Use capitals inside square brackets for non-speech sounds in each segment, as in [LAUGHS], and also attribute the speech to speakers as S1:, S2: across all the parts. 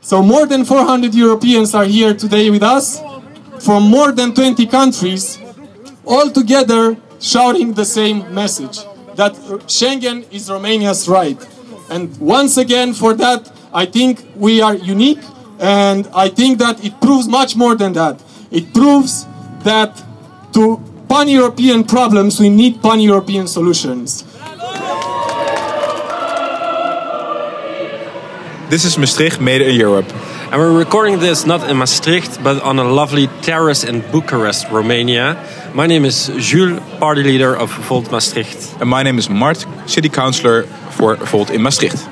S1: So more than 400 Europeans are here today with us from more than 20 countries, all together shouting the same message that Schengen is Romania's right. And once again, for that, I think we are unique, and I think that it proves much more than that. It proves that to pan European problems, we need pan European solutions.
S2: This is Maastricht Made in Europe.
S3: And we're recording this not in Maastricht, but on a lovely terrace in Bucharest, Romania. My name is Jules, party leader of Volt Maastricht.
S2: And my name is Mart, city councillor for Volt in Maastricht.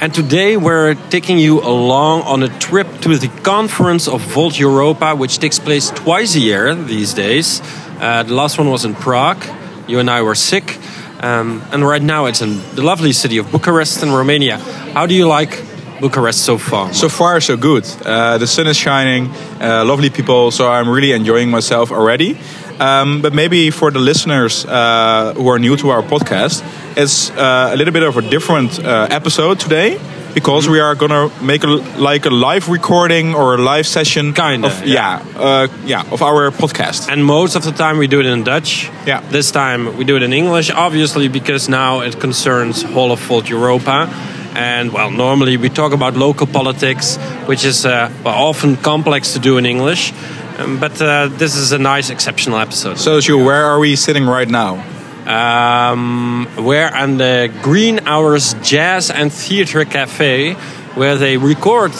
S3: And today we're taking you along on a trip to the conference of Volt Europa, which takes place twice a year these days. Uh, the last one was in Prague. You and I were sick. Um, and right now it's in the lovely city of Bucharest in Romania. How do you like Bucharest so far?
S2: So far, so good. Uh, the sun is shining, uh, lovely people, so I'm really enjoying myself already. Um, but maybe for the listeners uh, who are new to our podcast, it's uh, a little bit of a different uh, episode today because we are gonna make a, like a live recording or a live session,
S3: Kinda,
S2: of, yeah, yeah, Uh, yeah, of our podcast.
S3: And most of the time we do it in Dutch.
S2: Yeah.
S3: This time we do it in English, obviously, because now it concerns whole of Volt Europa. And well, normally we talk about local politics, which is uh, well, often complex to do in English. Um, but uh, this is a nice, exceptional episode.
S2: So, Jules, where are we sitting right now?
S3: Um, we're on the Green Hours Jazz and Theatre Cafe, where they record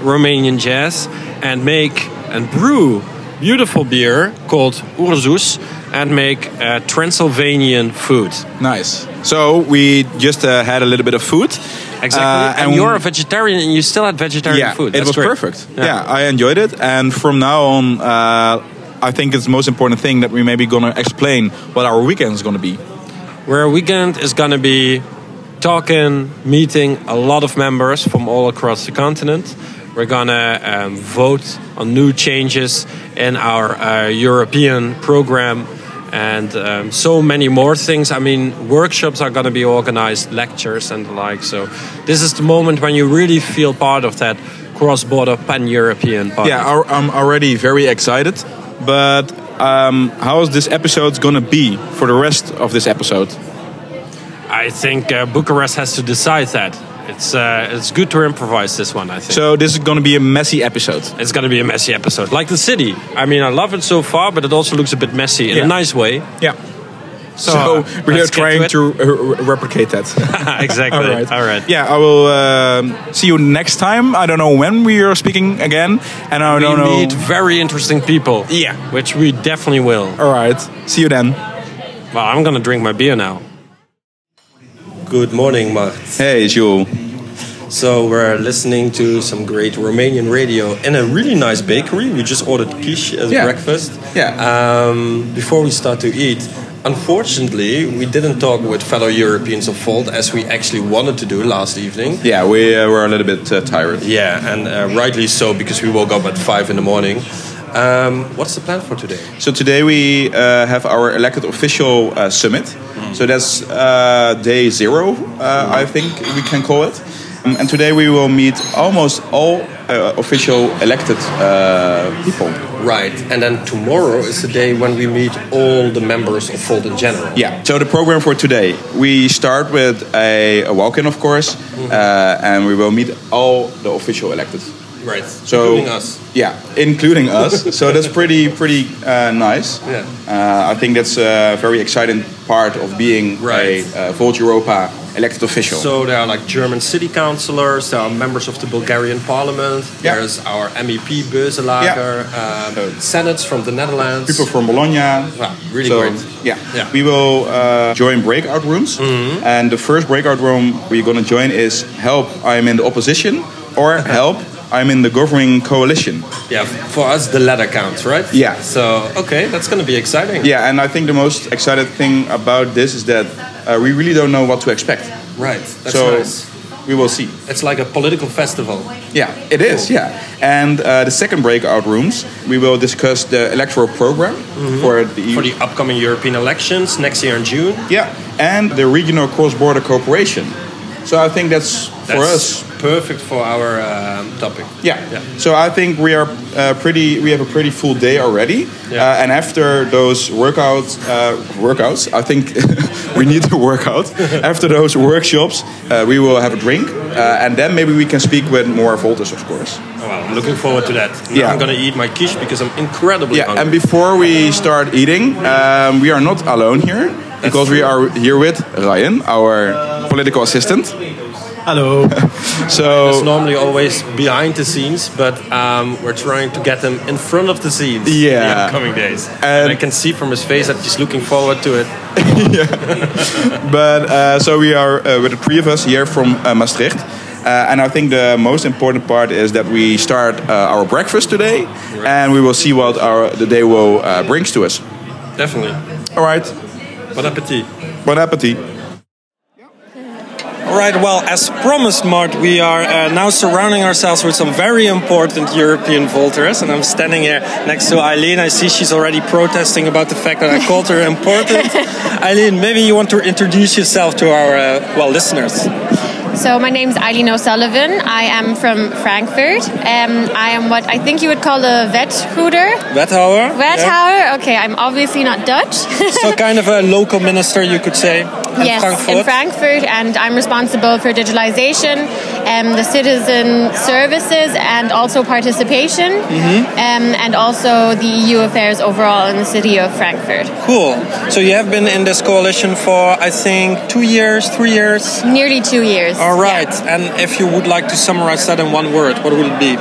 S3: Romanian jazz and make and brew beautiful beer called Urzus and make uh, Transylvanian food.
S2: Nice. So we just uh, had a little bit of food.
S3: Exactly.
S2: Uh,
S3: and, you're a vegetarian and you still had vegetarian
S2: yeah,
S3: food.
S2: It
S3: That's
S2: was
S3: great.
S2: perfect. Yeah. I enjoyed it. And from now on, uh, I think it's the most important thing that we maybe gonna explain what our weekend is gonna be.
S3: Where weekend is going to be talking, meeting a lot of members from all across the continent. We're going to um, vote on new changes in our uh, European program and um, so many more things. I mean, workshops are going to be organized, lectures and the like. So, this is the moment when you really feel part of that cross border pan European part.
S2: Yeah, our, I'm already very excited. But um, how is this episode gonna be for the rest of this episode?
S3: I think uh, Bucharest has to decide that. It's, uh, it's good to improvise this one, I think.
S2: So this is gonna be a messy episode.
S3: It's going to be a messy episode. Like the city. I mean, I love it so far, but it also looks a bit messy in
S2: Yeah.
S3: a nice way.
S2: Yeah. So,
S3: uh,
S2: we are
S3: let's get
S2: trying
S3: it.
S2: to, uh, re- replicate that. [LAUGHS]
S3: [LAUGHS] exactly.
S2: All
S3: All
S2: right.
S3: right.
S2: Yeah, I will um see you next time. I don't know when we are speaking again, and I
S3: We
S2: don't know.
S3: meet very interesting people.
S2: Oh, Yeah.
S3: Which we definitely will.
S2: All right. See you then.
S3: Well, I'm going to drink my beer now.
S4: Good morning, Mart.
S2: Hey, Jules.
S4: So we're listening to some great Romanian radio in a really nice bakery. We just ordered quiche as
S2: Yeah.
S4: breakfast.
S2: Yeah.
S4: Um, before we start to eat, unfortunately, we didn't talk with fellow Europeans of Volt as we actually wanted to do last evening.
S2: Yeah, we uh, were a little bit uh, tired.
S4: Yeah, and uh, rightly so because we woke up at five in the morning. Um, what's the plan for today?
S2: So today we uh, have our elected official uh, summit. So that's uh, day zero, uh, I think we can call it. Um, and today we will meet almost all uh, official elected uh, people.
S4: Right, and then tomorrow is the day when we meet all the members of Volt in general.
S2: Yeah. So the program for today, we start with a, a walk-in, of course, uh, and we will meet all the official elected.
S4: Right,
S2: So
S4: including us.
S2: Yeah, including us. [LAUGHS] so that's pretty pretty uh, nice.
S4: Yeah.
S2: Uh, I think that's a very exciting part of being
S4: Right.
S2: a uh, Volt Europa elected official.
S4: So there are like German city councillors, there are members of the Bulgarian parliament,
S2: Yeah.
S4: there's our MEP Beuzelager, um,
S2: So-
S4: senates from the Netherlands.
S2: people from Bologna.
S4: Wow, really
S2: so,
S4: great.
S2: Yeah.
S4: Yeah. Mm-hmm.
S2: We will uh, join breakout rooms. And the first breakout room we're going to join is Help, I'm in the opposition,
S4: [LAUGHS]
S2: or Help, I'm in the governing coalition.
S4: yeah, for us the letter counts, right?
S2: Yeah.
S4: So, okay, that's going to be exciting.
S2: Yeah, and I think the most excited thing about this is that uh, we really don't know what to expect.
S4: Right, that's
S2: so
S4: nice.
S2: we will see.
S4: It's like a political festival.
S2: Yeah, it is. Yeah, and uh, the second breakout rooms, we will discuss the electoral program for the EU.
S4: Mm-hmm. For the upcoming European elections next year in June.
S2: yeah, and the regional cross-border cooperation. So I think that's for us
S4: That's perfect for our um, topic.
S2: yeah.
S4: Yeah.
S2: So I think we are uh, pretty. We have a pretty full day already.
S4: Yeah.
S2: Uh, and after those workouts, uh, workouts, I think [LAUGHS] we need a workout.
S4: [LAUGHS]
S2: after those workshops, uh, we will have a drink, uh, and then maybe we can speak with more Voltas, of course.
S4: Oh, well, I'm looking forward to that. Now
S2: Yeah.
S4: I'm gonna eat my quiche because I'm incredibly
S2: Yeah. And
S4: hungry.
S2: before we start eating, um, we are not alone here because we are here with Ryan, our political assistant.
S5: Hello.
S2: So
S4: It's normally always behind the scenes, but um, we're trying to get him in front of the scenes. In the
S2: Yeah.
S4: upcoming days, and,
S2: And-
S4: I can see from his face that he's looking forward to it.
S2: But uh, so we are uh, with the three of us here from uh, Maastricht. Uh, and I think the most important part is that we start uh, our breakfast today, and we will see what our the day will uh, brings to us.
S4: Definitely.
S2: All right,
S4: Bon appetit.
S2: bon appetit.
S3: All right, well, as promised, Mart, we are uh, now surrounding ourselves with some very important European vaulters. And I'm standing here next to Eileen. I see she's already protesting about the fact that I called her [LAUGHS] important. Eileen, maybe you want to introduce yourself to our, uh, well, listeners.
S6: So my name's Eileen O'Sullivan. I am from Frankfurt. Um, I am what I think you would call a Wethouder.
S3: Wethouwer?
S6: Wethouder. Okay, I'm obviously not Dutch. [LAUGHS]
S3: So kind of a local minister, you could say, in
S6: yes,
S3: Frankfurt.
S6: in Frankfurt, and I'm responsible for digitalization, um, the citizen services, and also participation,
S3: Mm-hmm.
S6: um, and also the EU affairs overall in the city of Frankfurt.
S3: cool. So you have been in this coalition for, I think, two years, three years? Oh.
S6: Nearly two years.
S3: All right. And if you would like to summarize that in one word, what would it be?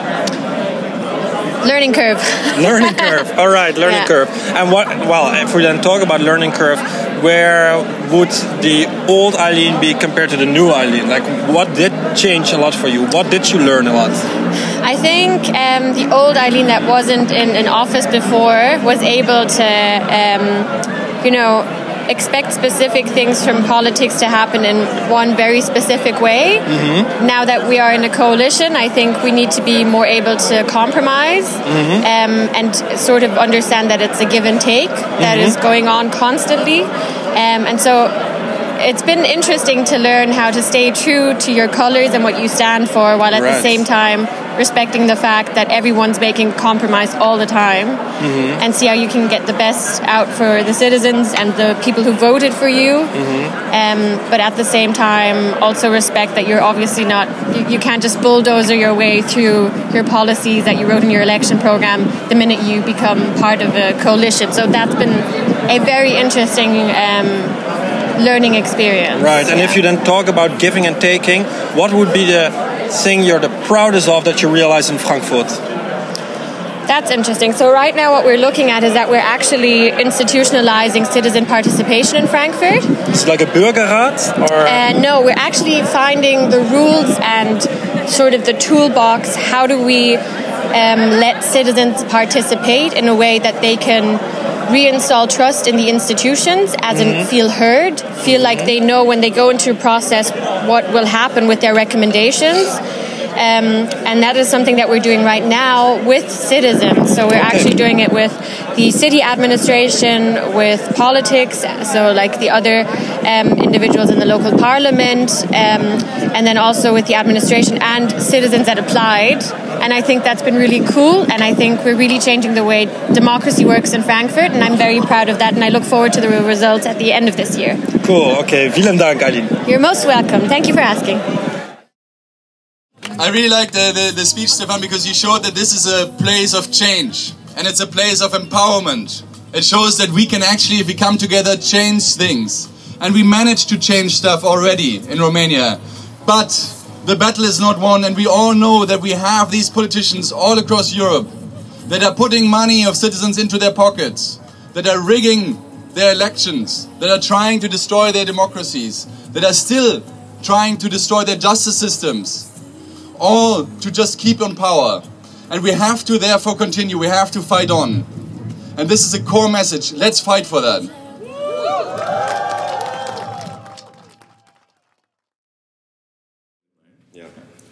S6: Learning curve. [LAUGHS]
S3: [LAUGHS] learning curve. All right, learning
S6: Yeah.
S3: curve. And what? Well, if we then talk about learning curve, where would the old Eileen be compared to the new Eileen? Like, what did change a lot for you? What did you learn a lot?
S6: I think um, the old Eileen that wasn't in an office before was able to, um, you know, expect specific things from politics to happen in one very specific way.
S2: Mm-hmm.
S6: Now that we are in a coalition, I think we need to be more able to compromise um, and sort of understand that it's a give and take that is going on constantly. Um, and so it's been interesting to learn how to stay true to your colors and what you stand for while at
S3: Right.
S6: the same time respecting the fact that everyone's making compromise all the time
S7: Mm-hmm.
S6: and see how you can get the best out for the citizens and the people who voted for you um, but at the same time also respect that you're obviously not you, you can't just bulldozer your way through your policies that you wrote in your election program the minute you become part of a coalition so that's been a very interesting um, learning experience.
S3: Right. And if you then talk about giving and taking, what would be the thing you're the proudest of that you realize in Frankfurt?
S6: That's interesting. So right now what we're looking at is that we're actually institutionalizing citizen participation in Frankfurt.
S3: Is it like a Bürgerrat or?
S6: And no, we're actually finding the rules and sort of the toolbox. How do we um, let citizens participate in a way that they can reinstall trust in the institutions, as in feel heard, feel like they know when they go into a process what will happen with their recommendations. Um, and that is something that we're doing right now with citizens. So we're actually doing it with the city administration, with politics, so like the other um, individuals in the local parliament, um, and then also with the administration and citizens that applied. And I think that's been really cool. And I think we're really changing the way democracy works in Frankfurt. And I'm very proud of that. And I look forward to the results at the end of this year.
S3: cool. Okay. Vielen Dank, Eileen.
S6: You're most welcome. Thank you for asking.
S8: I really like the, the, the speech, Stefan, because you showed that this is a place of change and it's a place of empowerment. It shows that we can actually, if we come together, change things. And we managed to change stuff already in Romania. But the battle is not won, and we all know that we have these politicians all across Europe that are putting money of citizens into their pockets, that are rigging their elections, that are trying to destroy their democracies, that are still trying to destroy their justice systems all to just keep on power. And we have to therefore continue, we have to fight on. And this is a core message. Let's fight for that.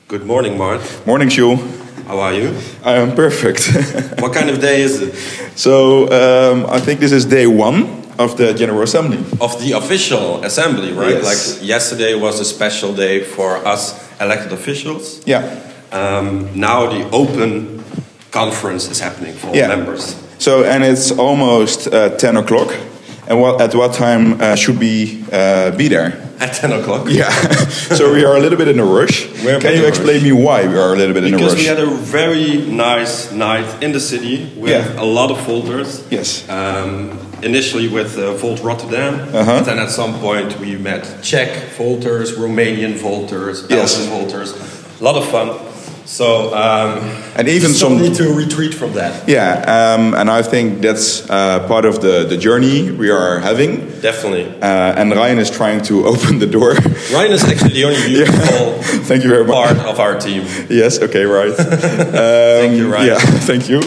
S4: Good morning, Mart.
S2: Morning, Jules.
S4: How are you?
S2: I am perfect. [LAUGHS]
S4: What kind of day is it?
S2: so um, I think this is day one. of the General Assembly.
S4: of the official assembly, right?
S2: Yes.
S4: Like yesterday was a special day for us elected officials.
S2: Yeah.
S4: Um, now the open conference is happening for all
S2: Yeah.
S4: members.
S2: So, and it's almost uh, 10 o'clock. And what, at what time uh, should we uh, be there?
S4: At 10 o'clock.
S2: Yeah. [LAUGHS] so we are a little bit in a rush.
S4: We're a bit
S2: Can
S4: in
S2: you
S4: a
S2: explain me why we are a little bit in a
S4: Because
S2: rush?
S4: we had a very nice night in the city with
S2: Yeah.
S4: a lot of folders.
S2: Yes.
S4: Um, initially with uh, Volt Rotterdam,
S2: Uh-huh.
S4: but then at some point we met Czech Volters, Romanian Volters,
S2: Yes.
S4: Belgian Volters. A lot of fun. So um,
S2: And even
S4: we still
S2: some-
S4: need to retreat from that.
S2: yeah, um, and I think that's uh, part of the, the journey we are having.
S4: Definitely.
S2: Uh, and Ryan is trying to [LAUGHS] open the door.
S4: Ryan is actually the only beautiful
S2: [LAUGHS] Thank you very much.
S4: part of our team.
S2: Yes, okay, right.
S4: [LAUGHS]
S2: Um,
S4: Thank you, Ryan.
S2: Yeah, [LAUGHS] thank you.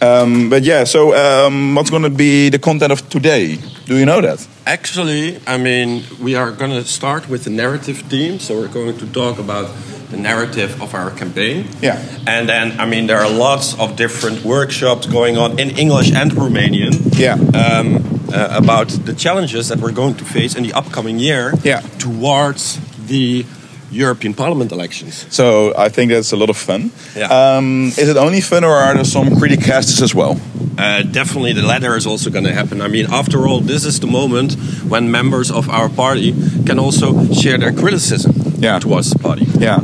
S2: Um, but yeah, so um, what's going to be the content of today? Do you know that?
S4: Actually, I mean, we are going to start with the narrative theme. So we're going to talk about the narrative of our campaign.
S2: Yeah.
S4: And then, I mean, there are lots of different workshops going on in English and Romanian.
S2: Yeah.
S4: Um, uh, about the challenges that we're going to face in the upcoming year.
S2: Yeah.
S4: Towards the European Parliament elections.
S2: So I think that's a lot of fun.
S4: Yeah.
S2: Um, is it only fun or are there some criticasts as well?
S4: Uh, definitely, the latter is also going to happen. I mean, after all, this is the moment when members of our party can also share their criticism
S2: Yeah.
S4: towards the party.
S2: Yeah.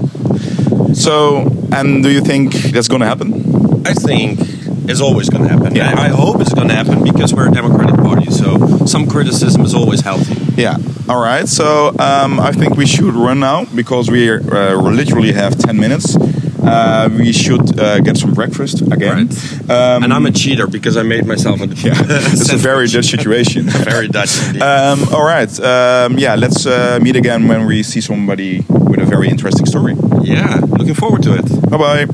S2: So, and do you think that's going to happen?
S4: I think is always going to happen.
S2: Yeah.
S4: I I hope it's going to happen because we're a democratic party, so some criticism is always healthy.
S2: Yeah. All right. So um, I think we should run now because we uh, literally have 10 minutes. Uh, we should uh, get some breakfast again.
S4: Right.
S2: Um,
S4: and I'm a cheater because I made myself a [LAUGHS]
S2: yeah, it's a very Dutch situation.
S4: very Dutch. indeed.
S2: Um, all right. Um, yeah, let's uh, meet again when we see somebody with a very interesting story.
S4: yeah, looking forward to it.
S2: Bye bye.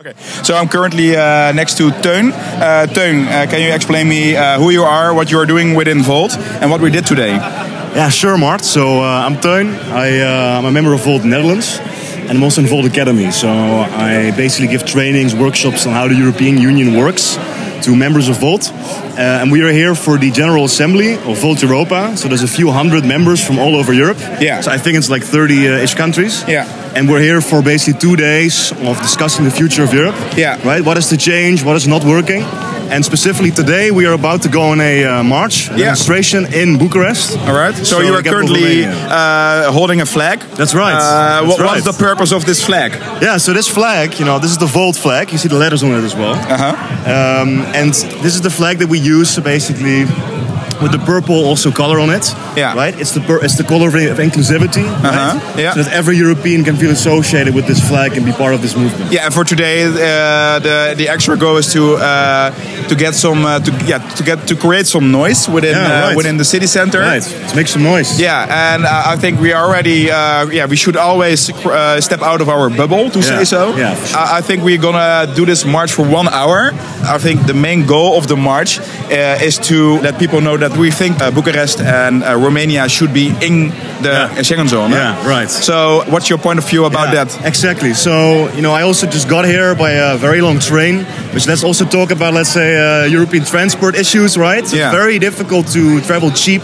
S2: Okay. So I'm currently uh, next to Teun. Uh, Teun, uh, can you explain me uh, who you are, what you are doing within Volt, and what we did today?
S9: Yeah, sure, Mart. So uh, I'm Teun. I, uh, I'm a member of Volt Netherlands, and I'm also in Volt Academy. So I basically give trainings, workshops on how the European Union works to members of Volt. Uh, and we are here for the General Assembly of Volt Europa. So there's a few hundred members from all over Europe.
S2: Yeah.
S9: So I think it's like 30-ish countries.
S2: Yeah.
S9: And we're here for basically two days of discussing the future of Europe.
S2: Yeah.
S9: Right? What is the change? What is not working? And specifically today, we are about to go on a uh, march, a
S2: Yeah.
S9: demonstration in Bucharest.
S2: All right. So, you
S9: we
S2: are
S9: get
S2: currently
S9: Romania.
S2: uh, holding a flag.
S9: That's right.
S2: Uh,
S9: That's
S2: what
S9: right.
S2: was the purpose of this flag?
S9: yeah, so this flag, you know, this is the Volt flag. You see the letters on it as well.
S2: Uh huh.
S9: Um, and this is the flag that we use, so basically, with the purple also color on it.
S2: Yeah.
S9: Right? It's the, pur- it's the color of, of inclusivity.
S2: Uh-huh,
S9: Right?
S2: yeah.
S9: So that every European can feel associated with this flag and be part of this movement.
S2: Yeah, and for today, uh, the the extra goal is to uh, to get some uh, to yeah to get to create some noise within
S9: Yeah,
S2: uh,
S9: right.
S2: within the city center.
S9: Right. Let's make some noise.
S2: Yeah, and uh, I think we already, uh, yeah, we should always uh, step out of our bubble to say so. Uh,
S9: yeah, for sure.
S2: I, I think we're gonna do this march for one hour. I think the main goal of the march uh, is to let people know that we think uh, Bucharest and uh, Romania should be in the
S9: Yeah.
S2: Schengen zone.
S9: Yeah, right.
S2: So, what's your point of view about
S9: Yeah,
S2: that?
S9: Exactly. So, you know, I also just got here by a very long train, which let's also talk about, let's say, uh, European transport issues, right? So
S2: Yeah.
S9: It's very difficult to travel cheap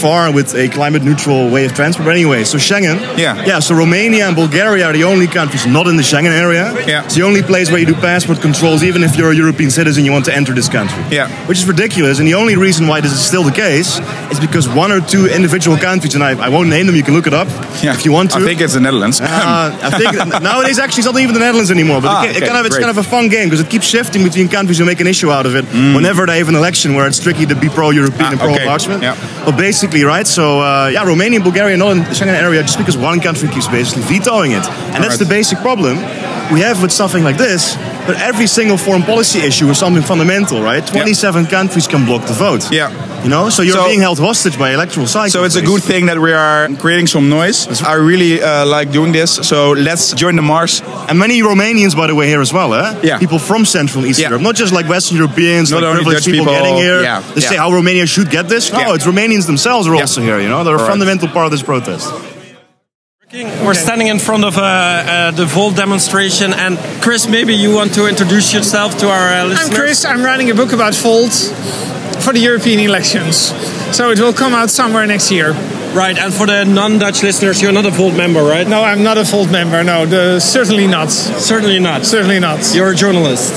S9: far with a climate neutral way of transport. But anyway, so Schengen.
S2: Yeah.
S9: Yeah, so Romania and Bulgaria are the only countries not in the Schengen area.
S2: Yeah.
S9: It's the only place where you do passport controls, even if you're a European citizen, you want to enter this country.
S2: Yeah.
S9: Which is ridiculous. And the only reason why this is still the case is because one or two individual countries, and I, I won't name them, you can look it up if you want to.
S2: I think it's the
S9: [LAUGHS]
S2: Netherlands.
S9: Uh, I
S2: [LAUGHS]
S9: think nowadays actually it's not even the Netherlands anymore, but
S2: Ah,
S9: it, ca- it
S2: okay,
S9: kind of, it's
S2: great.
S9: kind of a fun game because it keeps shifting between countries who make an issue out of it whenever they have an election where it's tricky to be pro-European
S2: Mm. Ah,
S9: and pro-enlargement.
S2: okay, yeah.
S9: But basically, right? So uh, yeah, Romania and Bulgaria are not in the Schengen area just because one country keeps basically vetoing it, and
S2: Alright.
S9: that's the basic problem we have with something like this. But every single foreign policy issue is something fundamental, right? Twenty-seven countries can block the vote.
S2: Yeah.
S9: You know, so you're
S2: So-
S9: being held hostage by electoral cycles.
S2: So it's a good
S9: basically.
S2: thing that we are creating some noise. I really uh, like doing this. So let's join the march.
S9: And many Romanians, by the way, here as well, eh?
S2: Yeah.
S9: People from Central and Eastern
S2: Yeah.
S9: Europe, not just like Western Europeans,
S2: Not
S9: like
S2: only
S9: privileged
S2: Dutch
S9: people,
S2: people,
S9: getting here.
S2: yeah,
S9: They say
S2: yeah.
S9: how Romania should get this. No,
S2: Yeah.
S9: it's Romanians themselves are
S2: Yeah.
S9: also here. You know, they're a
S2: All right.
S9: fundamental part of this protest.
S10: We're standing in front of uh, uh, the Volt demonstration, and Chris, maybe you want to introduce yourself to our uh, listeners.
S5: I'm Chris. I'm writing a book about Volt. for the European elections. So it will come out somewhere next year.
S10: Right, and for the non-Dutch listeners, you're not a Volt member, right?
S5: No, I'm not a Volt member. No, the, certainly not.
S10: certainly not.
S5: Certainly not.
S10: You're a journalist.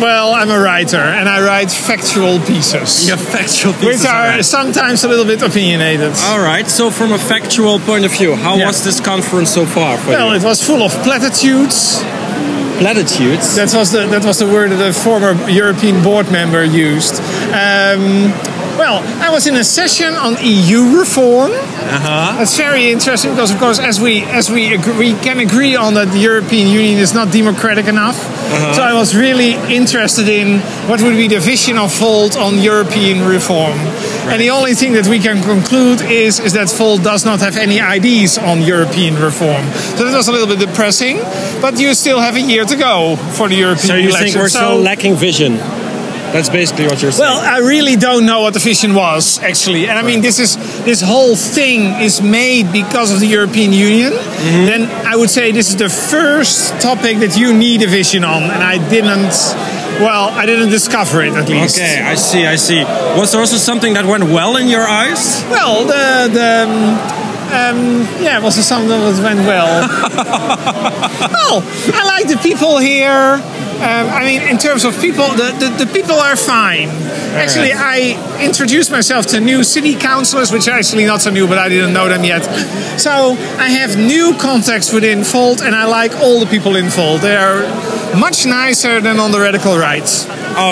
S5: Well, I'm a writer, and I write factual pieces,
S10: You have factual pieces.
S5: which are sometimes a little bit opinionated.
S10: All right. So, from a factual point of view, how
S5: Yeah.
S10: was this conference so far? For
S5: Well,
S10: you?
S5: it was full of platitudes.
S10: platitudes.
S5: That was the that was the word that a former European board member used. Um, well, I was in a session on EU reform.
S10: Uh-huh.
S5: That's very interesting because, of course, as we as we agree, can agree on that the European Union is not democratic enough.
S10: Uh-huh.
S5: So I was really interested in what would be the vision of Volt on European reform. And the only thing that we can conclude is is that Volt does not have any ideas on European reform. So that was a little bit depressing. But you still have a year to go for the European
S10: so you
S5: election.
S10: think we're
S5: So-
S10: still lacking vision? That's basically what you're saying.
S5: well, I really don't know what the vision was actually, and I mean this is this whole thing is made because of the European Union.
S10: Mm-hmm.
S5: Then I would say this is the first topic that you need a vision on, and I didn't. Well, I didn't discover it at least.
S10: okay, I see. I see. Was there also something that went well in your eyes?
S5: Well, the the. um, Um, yeah, it was something that went well.
S10: [LAUGHS]
S5: well, I like the people here. Um, I mean, in terms of people, the, the, the people are fine. Actually, I introduced myself to new city councillors, which are actually not so new, but I didn't know them yet. So I have new contacts within Volt, and I like all the people in Volt. They are much nicer than on the radical right.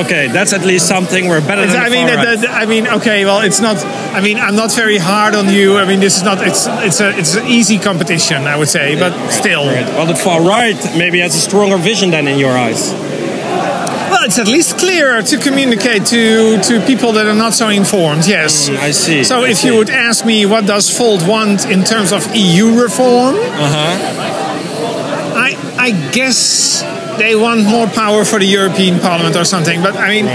S10: Okay, that's at least something. We're better
S5: It's-
S10: than
S5: I
S10: the
S5: mean,
S10: far
S5: that,
S10: right.
S5: that- I mean, okay. Well, it's not. I mean, I'm not very hard on you. I mean, this is not. It's it's a it's an easy competition, I would say. But still,
S10: Well, the far right maybe has a stronger vision than in your eyes.
S5: well, it's at least clearer to communicate to to people that are not so informed. Yes,
S10: Mm, I see,
S5: So,
S10: I
S5: if
S10: see.
S5: you would ask me, what does Fold want in terms of EU reform?
S10: Uh-huh.
S5: I I guess they want more power for the European Parliament or something. But I mean,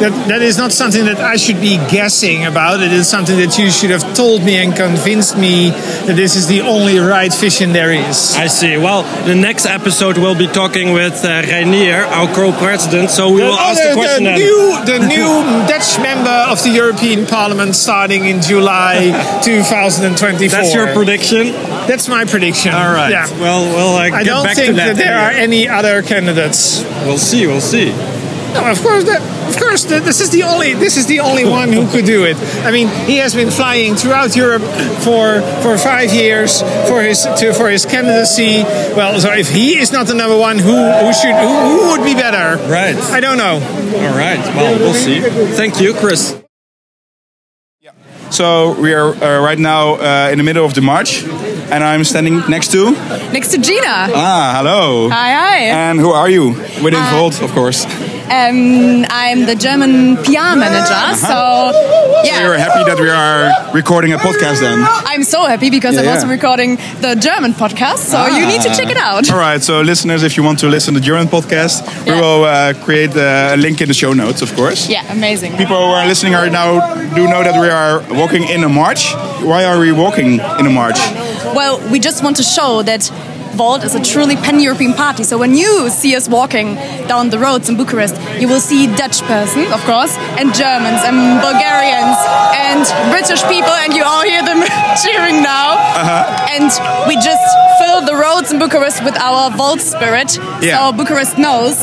S5: that that is not something that I should be guessing about. It is something that you should have told me and convinced me that this is the only right vision there is.
S10: I see. Well, the next episode we'll be talking with uh, Reinier, our co-president. So we will
S5: Oh,
S10: ask the question
S5: the
S10: then.
S5: new, the new Dutch member of the European Parliament starting in
S10: [LAUGHS]
S5: July 2024.
S10: That's your prediction.
S5: That's my prediction.
S10: All right.
S5: Yeah.
S10: Well, we'll uh,
S5: I
S10: get
S5: don't
S10: back
S5: think
S10: to that.
S5: that there are any other candidates.
S10: We'll see. We'll see.
S5: No, of course, that, of course. That, this is the only. This is the only one who could do it. I mean, he has been flying throughout Europe for for five years for his to, for his candidacy. Well, so if he is not the number one, who who should who, who would be better?
S10: Right.
S5: I don't know.
S10: All right. Well, we'll see. Thank you, Chris.
S2: So we are uh, right now uh, in the middle of the march, and I'm standing next to.
S11: Next to Gina.
S2: Ah, hello.
S11: Hi, Uh, hi.
S2: And who are you? Within Volt, of course.
S11: Um, I'm the German PR manager,
S2: Uh-huh.
S11: so yeah.
S2: We are happy that we are recording a podcast then.
S11: I'm so happy because I'm
S2: Yeah,
S11: also
S2: yeah. Ah.
S11: recording the German podcast, so you need to check it out.
S2: All right, so listeners, if you want to listen to German podcast, we
S11: Yeah.
S2: will uh, create uh, a link in the show notes, of course.
S11: Yeah, amazing.
S2: People who are listening right now do know that we are walking in a march. Why are we walking in a march?
S11: Well, we just want to show that Vault is a truly pan-European party. So when you see us walking down the roads in Bucharest, you will see Dutch person, of course, and Germans and Bulgarians and British people, and you all hear them [LAUGHS] cheering now.
S2: Uh-huh.
S11: And we just fill the roads in Bucharest with our Vault spirit,
S2: Yeah.
S11: so Bucharest knows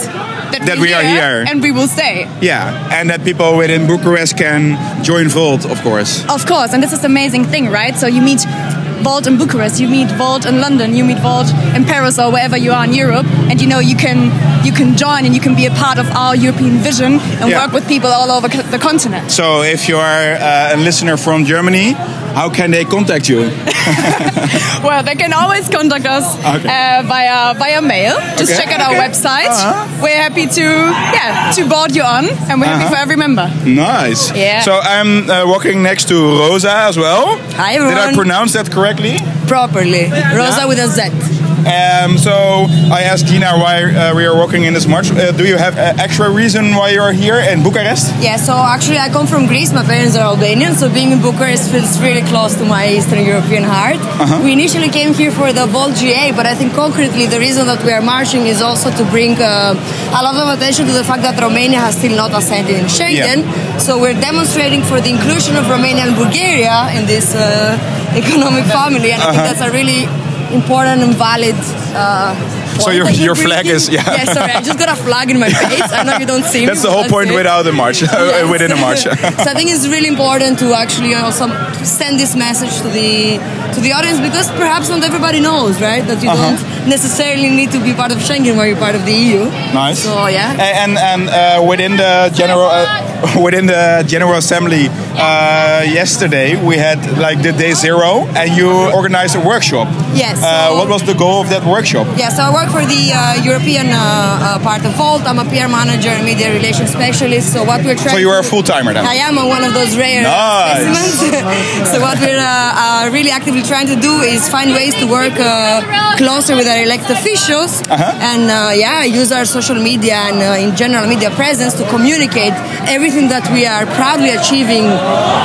S11: that,
S2: That we
S11: we're
S2: are here.
S11: and we will stay.
S2: Yeah, and that people within Bucharest can join Volt, of course.
S11: Of course, and this is the amazing thing, right? So you meet Vault in Bucharest, you meet Vault in London, you meet Vault in Paris or wherever you are in Europe, and you know you can you can join and you can be a part of our European vision and
S2: Yeah.
S11: work with people all over co- the continent.
S2: So if you are uh, a listener from Germany, how can they contact
S11: [LAUGHS]
S2: you?
S11: Well, they can always contact us
S2: Okay.
S11: uh, via via mail. Just
S2: Okay,
S11: check out our
S2: okay.
S11: website.
S2: Uh-huh.
S11: We're happy to yeah to board you on, and we're happy for every member.
S2: Nice.
S11: Yeah.
S2: So I'm uh, walking next to Rosa as well.
S12: Hi,
S2: Did I
S12: everyone.
S2: pronounce that correctly?
S12: properly. Rosa with a Z.
S2: Um, so I asked Gina why uh, we are walking in this march. Uh, do you have an extra reason why you are here in Bucharest?
S12: Yeah, so actually, I come from Greece. My parents are Albanian, so being in Bucharest feels really close to my Eastern European heart.
S2: Uh-huh.
S12: We initially came here for the Volt GA, but I think concretely the reason that we are marching is also to bring uh, a lot of attention to the fact that Romania has still not ascended in Schengen. So we're demonstrating for the inclusion of Romania and Bulgaria in this uh, [LAUGHS] economic family, and I think
S2: Uh-huh.
S12: that's a really important and valid. Uh,
S2: So
S12: [LAUGHS] point
S2: your-
S12: that we're
S2: your flag
S12: bringing.
S2: is- yeah.
S12: yeah sorry I just got a flag
S2: [LAUGHS]
S12: in my face I know you don't see me
S2: That's the
S12: but
S2: whole point
S12: it.
S2: without the march, [LAUGHS]
S12: Yes.
S2: within the
S12: [LAUGHS]
S2: march.
S12: so I think it's really important to actually also send this message to the to the audience because perhaps not everybody knows, right? That you
S2: Uh-huh.
S12: don't necessarily need to be part of Schengen or you're part of the EU.
S2: Nice.
S12: So yeah.
S2: A- And and uh, within the general uh, [LAUGHS] within the general assembly uh, yesterday we had like the day zero and you organized a workshop.
S12: Yes,
S2: Uh,
S12: so-
S2: what was the goal of that workshop?
S12: Yeah, so I work for the uh, European uh, uh, part of Vault. I'm a PR manager and media relations specialist. So what we're trying
S2: So you
S12: to
S2: are a full timer then.
S12: I am on one of those rare
S2: Nice.
S12: specimens. [LAUGHS] so what we're uh, uh, really actively trying to do is find ways to work uh, closer with our elected officials
S2: Uh-huh.
S12: and uh, yeah, use our social media and uh, in general media presence to communicate everything that we are proudly achieving,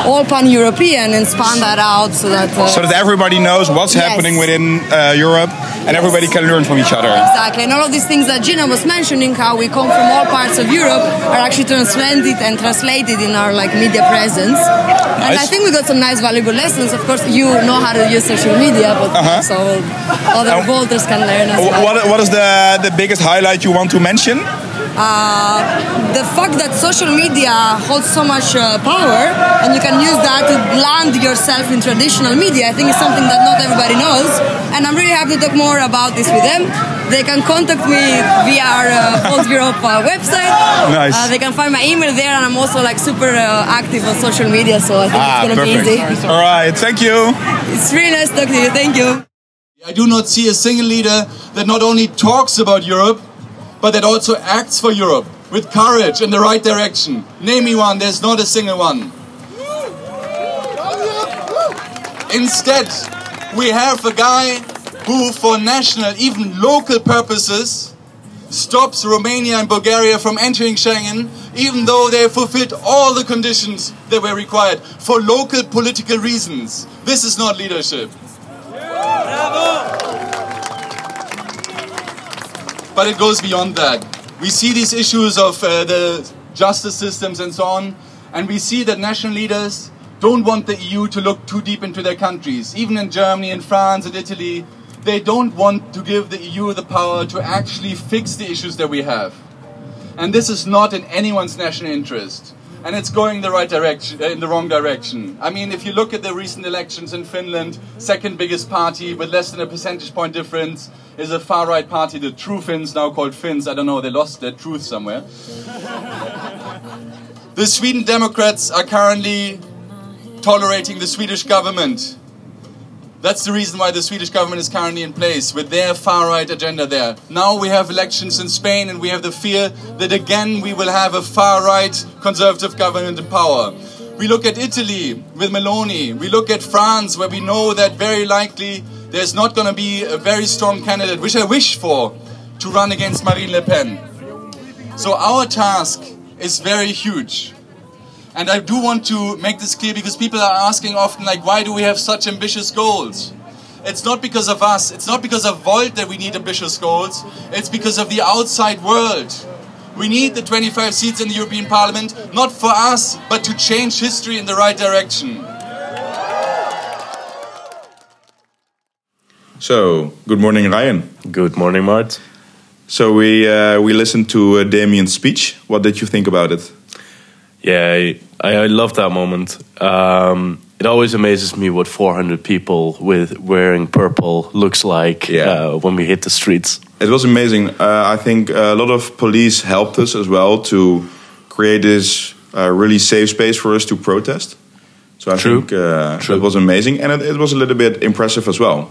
S12: all pan-European, and span that out so that. Uh,
S2: So that everybody knows what's
S12: Yes.
S2: happening within uh, Europe and everybody can learn from each other.
S12: Exactly, and all of these things that Gina was mentioning, how we come from all parts of Europe, are actually translated and translated in our like media presence. And I
S2: Nice.
S12: think we got some nice valuable lessons. Of course, you know how to use social media, but so other voters can learn as
S2: Uh-huh. Wh-
S12: well.
S2: What, what is the, the biggest highlight you want to mention?
S12: Uh, the fact that social media holds so much uh, power, and you can use that to land yourself in traditional media, I think is something that not everybody knows. And I'm really happy to talk more about this with them. They can contact me via our uh, Vault Europe uh, website.
S2: Nice.
S12: Uh, they can find my email there, and I'm also like super uh, active on social media, so I
S13: Ah,
S12: think
S2: Ah,
S12: it's gonna be easy.
S2: All right, thank you.
S12: It's really nice talking to you. Thank you.
S8: I do not see a single leader that not only talks about Europe, but that also acts for Europe with courage in the right direction. Name me one, there's not a single one. Instead, we have a guy who, for national, even local purposes, stops Romania and Bulgaria from entering Schengen, even though they fulfilled all the conditions that were required for local political reasons. This is not leadership. But it goes beyond that. We see these issues of uh, the justice systems and so on, and we see that national leaders don't want the EU to look too deep into their countries. Even in Germany and France and Italy, they don't want to give the EU the power to actually fix the issues that we have. And this is not in anyone's national interest. And it's going the right direction, in the wrong direction. I mean, if you look at the recent elections in Finland, second biggest party with less than a percentage point difference is a far right party, the True Finns, now called Finns. I don't know, they lost their truth somewhere. the Sweden Democrats are currently tolerating the Swedish government. That's the reason why the Swedish government is currently in place with their far right agenda there. Now we have elections in Spain and we have the fear that again we will have a far right conservative government in power. We look at Italy with Meloni. We look at France where we know that very likely there's not going to be a very strong candidate, which I wish for, to run against Marine Le Pen. So our task is very huge. And I do want to make this clear because people are asking often, like, why do we have such ambitious goals? It's not because of us, it's not because of Volt that we need ambitious goals, it's because of the outside world. We need the 25 seats in the European Parliament, not for us, but to change history in the right direction.
S2: So, good morning, Ryan.
S13: Good morning, Mart.
S2: So we uh, we listened to uh, Damien's speech. What did you think about it?
S13: Yeah, I, I love that moment. Um, it always amazes me what 400 people with wearing purple looks like uh, when we hit the streets.
S2: It was amazing. Uh, I think a lot of police helped us as well to create this uh, really safe space for us to protest. So I
S13: True.
S2: think uh, it was amazing, and it, it was a little bit impressive as well.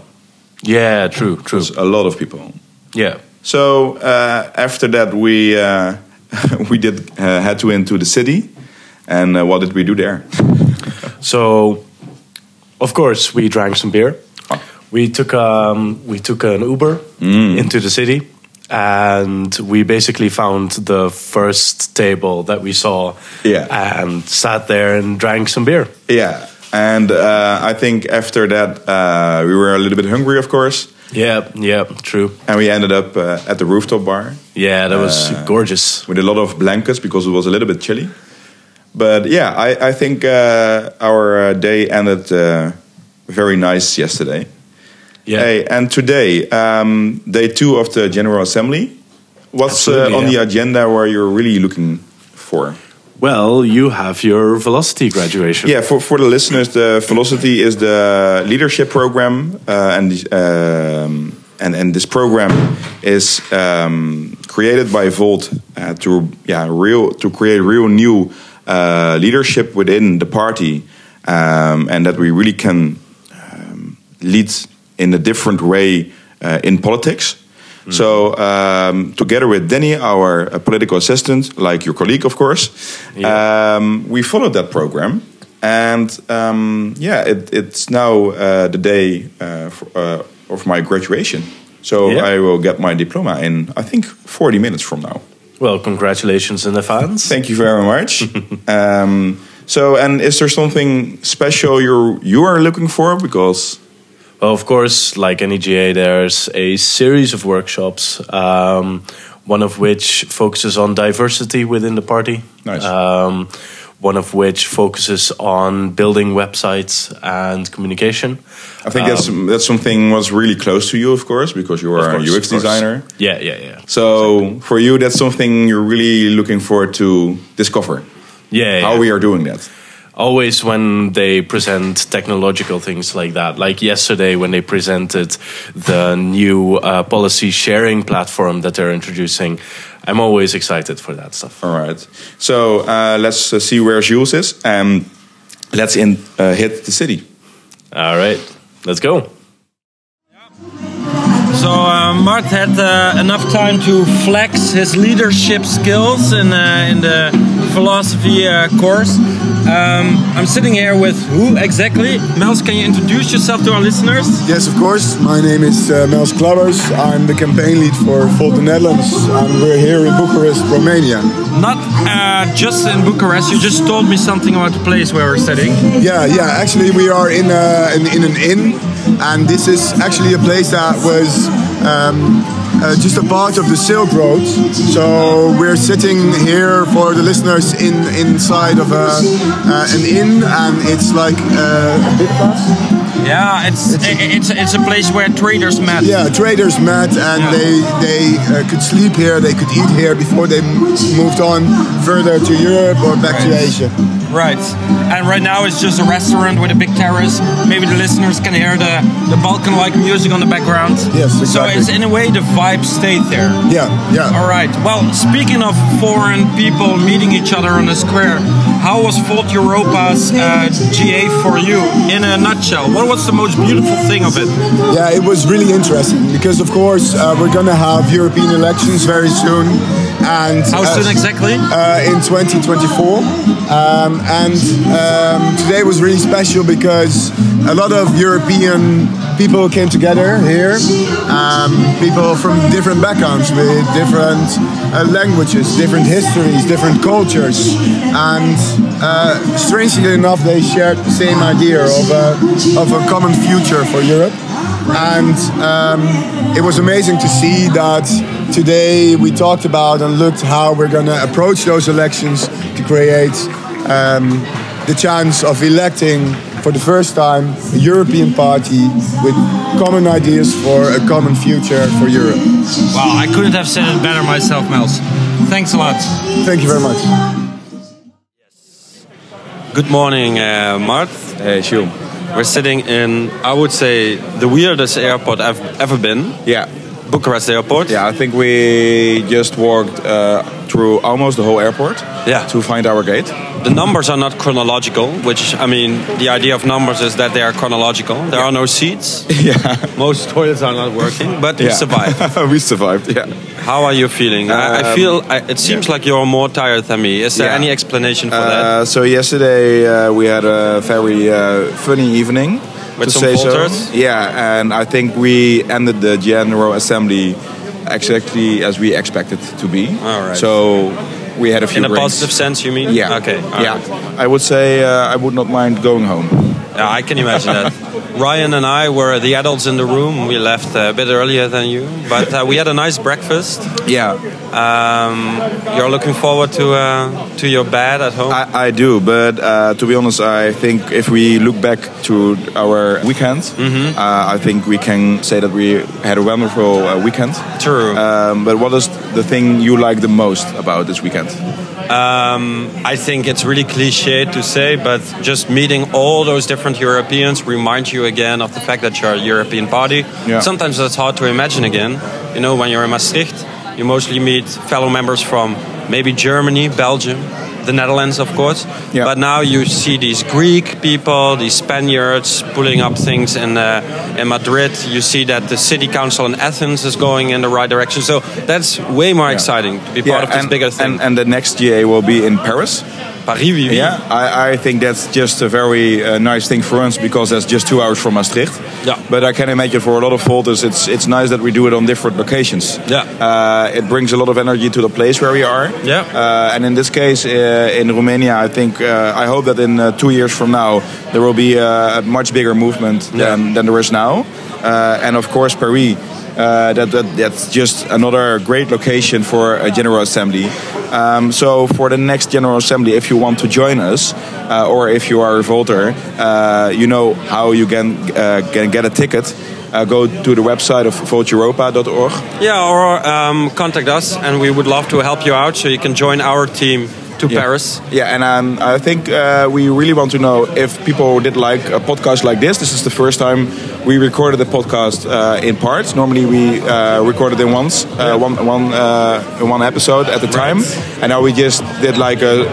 S13: Yeah, true, true.
S2: A lot of people.
S13: Yeah.
S2: So uh, after that, we uh, [LAUGHS] we did uh, had to into the city, and uh, what did we do there? Ah.
S13: So, of course, we drank some beer. we took um, we took an Uber
S2: Mm.
S13: into the city, and we basically found the first table that we saw. Yeah, and sat there and drank some beer.
S2: Yeah, and uh, I think after that uh, we were a little bit hungry, of course.
S13: Yeah, yeah, true.
S2: And we ended up uh, at the rooftop bar. Uh,
S13: Yeah, that was gorgeous.
S2: With a lot of blankets because it was a little bit chilly. But yeah, I, I think uh, our uh, day ended uh, very nice yesterday.
S13: Yeah.
S2: Hey, and today, um, day two of the General Assembly. What's uh,
S13: Absolutely,
S2: on
S13: yeah.
S2: the agenda where you're really looking for?
S13: Well, you have your velocity graduation.
S2: Yeah, for, for the listeners, the Velocity is the leadership program, uh, and um, and and this program is um, created by Volt uh, to yeah real to create real new uh, leadership within the party, um, and that we really can um, lead in a different way uh, in politics.
S13: Hmm.
S2: So, um, together with Denny, our uh, political assistant, like your colleague, of course, um, we followed that program. And um, yeah, it, it's now uh, the day uh, f- uh, of my graduation. So,
S13: Yeah.
S2: I will get my diploma in, I think, 40 minutes from now.
S13: Well, congratulations in advance.
S2: Thank you very
S13: [LAUGHS]
S2: much. um, so, and is there something special you're, you are looking for? Because
S13: Well, of course, like any GA, there's a series of workshops, um, one of which focuses on diversity within the party.
S2: Nice.
S13: Um, one of which focuses on building websites and communication.
S2: I think that's,
S13: Um,
S2: that's something was really close to you, of course, because you
S13: of
S2: are
S13: course,
S2: a
S13: of
S2: UX
S13: course.
S2: designer.
S13: Yeah, yeah, yeah.
S2: So for you, that's something you're really looking forward to discover
S13: Yeah.
S2: how
S13: yeah.
S2: we are doing that.
S13: always when they present technological things like that like yesterday when they presented the new uh, policy sharing platform that they're introducing i'm always excited for that stuff
S2: All right. So uh, let's uh, see where Jules is, and let's in, uh, hit the city.
S13: All right, let's go.
S10: So uh, Mart had uh, enough time to flex his leadership skills in, uh, in the philosophy uh, course. Um, I'm sitting here with who exactly? Mels, can you introduce yourself to our listeners?
S14: Yes, of course. My name is uh, Mels Klabbers. I'm the campaign lead for Volt the Netherlands, and we're here in Bucharest, Romania.
S10: Not uh, just in Bucharest. You just told me something about the place where we're sitting.
S14: Yeah, yeah. Actually, we are in a, in, in an inn, and this is actually a place that was um, uh, just a part of the Silk Road. So we're sitting here for the listeners in inside of a, uh, an inn, and it's like uh, a bit past.
S10: Yeah, it's it's it's a place where traders met.
S14: Yeah, traders met, and they they uh, could sleep here, they could eat here before they m- moved on further to Europe or back to Asia.
S10: Right. And right now it's just a restaurant with a big terrace. Maybe the listeners can hear the, the Balkan like music on the background. Yes, exactly. So it's in a way the vibe stayed there.
S14: Yeah, yeah.
S10: All right. Well, speaking of foreign people meeting each other on the square, how was Volt Europa's uh, GA for you in a nutshell? What was the most beautiful thing of it?
S14: Yeah, it was really interesting because, of course, uh, we're gonna have European elections very soon, and
S10: How soon exactly?
S14: Uh, in 2024, um, and um, today was really special because a lot of European people came together here, um, people from different backgrounds with different uh, languages, different histories, different cultures, and uh, strangely enough, they shared the same idea of a, of a common future for Europe and um, it was amazing to see that today we talked about and looked how we're going to approach those elections to create um, the chance of electing for the first time a European party with common ideas for a common future for Europe.
S10: Wow, I couldn't have said it better myself, Mels. Thanks a lot.
S14: Thank you very much.
S3: Good morning, uh, Mart. Hey, Sjoe. We're sitting in, I would say, the weirdest airport I've ever been.
S2: Yeah.
S3: Bucharest Airport.
S2: Yeah, I think we just walked uh, through almost the whole airport
S3: yeah.
S2: to find our gate.
S3: The numbers are not chronological, which, I mean, the idea of numbers is that they are chronological. There are no seats.
S2: [LAUGHS] Yeah.
S3: Most toilets are not working, but we
S2: [LAUGHS]
S3: survived.
S2: we survived. Yeah.
S3: How are you feeling? I, I
S2: Um,
S3: feel, I, it seems like you're more tired than me. Is there
S2: Yeah.
S3: any explanation for that?
S2: Uh, so yesterday uh, we had a very uh, funny evening.
S3: With
S2: to
S3: some
S2: say
S3: falters?
S2: so. Yeah, and I think we ended the General Assembly exactly as we expected to be. All right. So we had a few
S3: In a
S2: breaks.
S3: positive sense, you mean?
S2: Yeah.
S3: Okay. all
S2: Yeah.
S3: right.
S2: I would say uh, I would not mind going home.
S3: Yeah, I can imagine
S2: [LAUGHS]
S3: that. Ryan and I were the adults in the room. We left uh, a bit earlier than you, but uh, we had a nice breakfast.
S2: Yeah.
S3: Um, you're looking forward to uh, to your bed at home.
S2: I, I do, but uh, to be honest, I think if we look back to our weekend,
S3: Mm-hmm.
S2: uh, I think we can say that we had a wonderful uh, weekend.
S3: True.
S2: Um, but what is the thing you like the most about this weekend?
S3: Um, I think it's really cliche to say, but just meeting all those different Europeans reminds you again of the fact that you're a European party.
S2: Yeah.
S3: Sometimes that's hard to imagine again. You know, when you're in Maastricht, you mostly meet fellow members from maybe Germany, Belgium, the Netherlands, of course. But now you see these Greek people, these Spaniards pulling up things in uh, in Madrid. You see that the city council in Athens is going in the right direction. So that's way more exciting to be part of this
S2: and,
S3: bigger thing.
S2: And, and the next GA will be in Paris.
S3: Paris, oui, oui.
S2: Yeah, I, I think that's just a very uh, nice thing for us because that's just two hours from Maastricht. Yeah. But I can imagine for a lot of folders, it's it's nice that we do it on different locations.
S3: Yeah.
S2: Uh, it brings a lot of energy to the place where we are.
S3: Yeah.
S2: Uh, and in this case, uh, in Romania, I think uh, I hope that in uh, two years from now there will be uh, a much bigger movement than, than there is now. Uh, and of course, Paris. Uh, that, that that's just another great location for a general assembly. Um, so for the next general assembly, if you want to join us, uh, or if you are a voter, uh, you know how you can uh, can get a ticket. Uh, go to the website of voteeuropa.org.
S3: Yeah, or um, contact us, and we would love to help you out, so you can join our team to Paris.
S2: Yeah, and um, I think uh, we really want to know if people did like a podcast like this. This is the first time we recorded a podcast uh, in parts. Normally, we uh, recorded in once, uh, one, one, uh, in one episode at a time, and now we just did like a,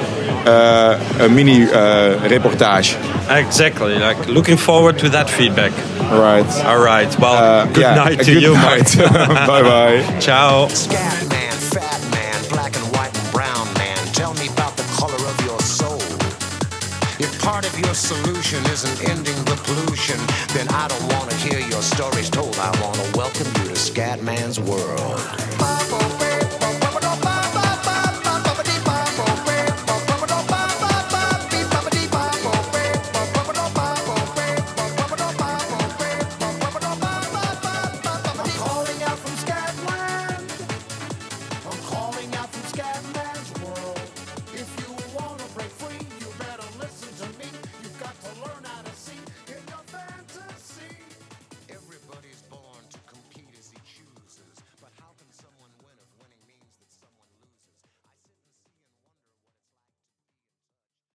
S2: uh, a mini uh, reportage.
S3: Exactly. Like looking forward to that feedback.
S2: Right. Uh,
S3: All right. Well, good
S2: yeah,
S3: night
S2: a
S3: to
S2: good
S3: you,
S2: night.
S3: Mark.
S2: [LAUGHS] Bye-bye.
S3: Ciao.
S7: Scat man, fat man, black and white and brown man. Tell me about the color of your soul. If part of your solution isn't ending the pollution, then I don't want to hear your stories told. I want to welcome you to Scat Man's world.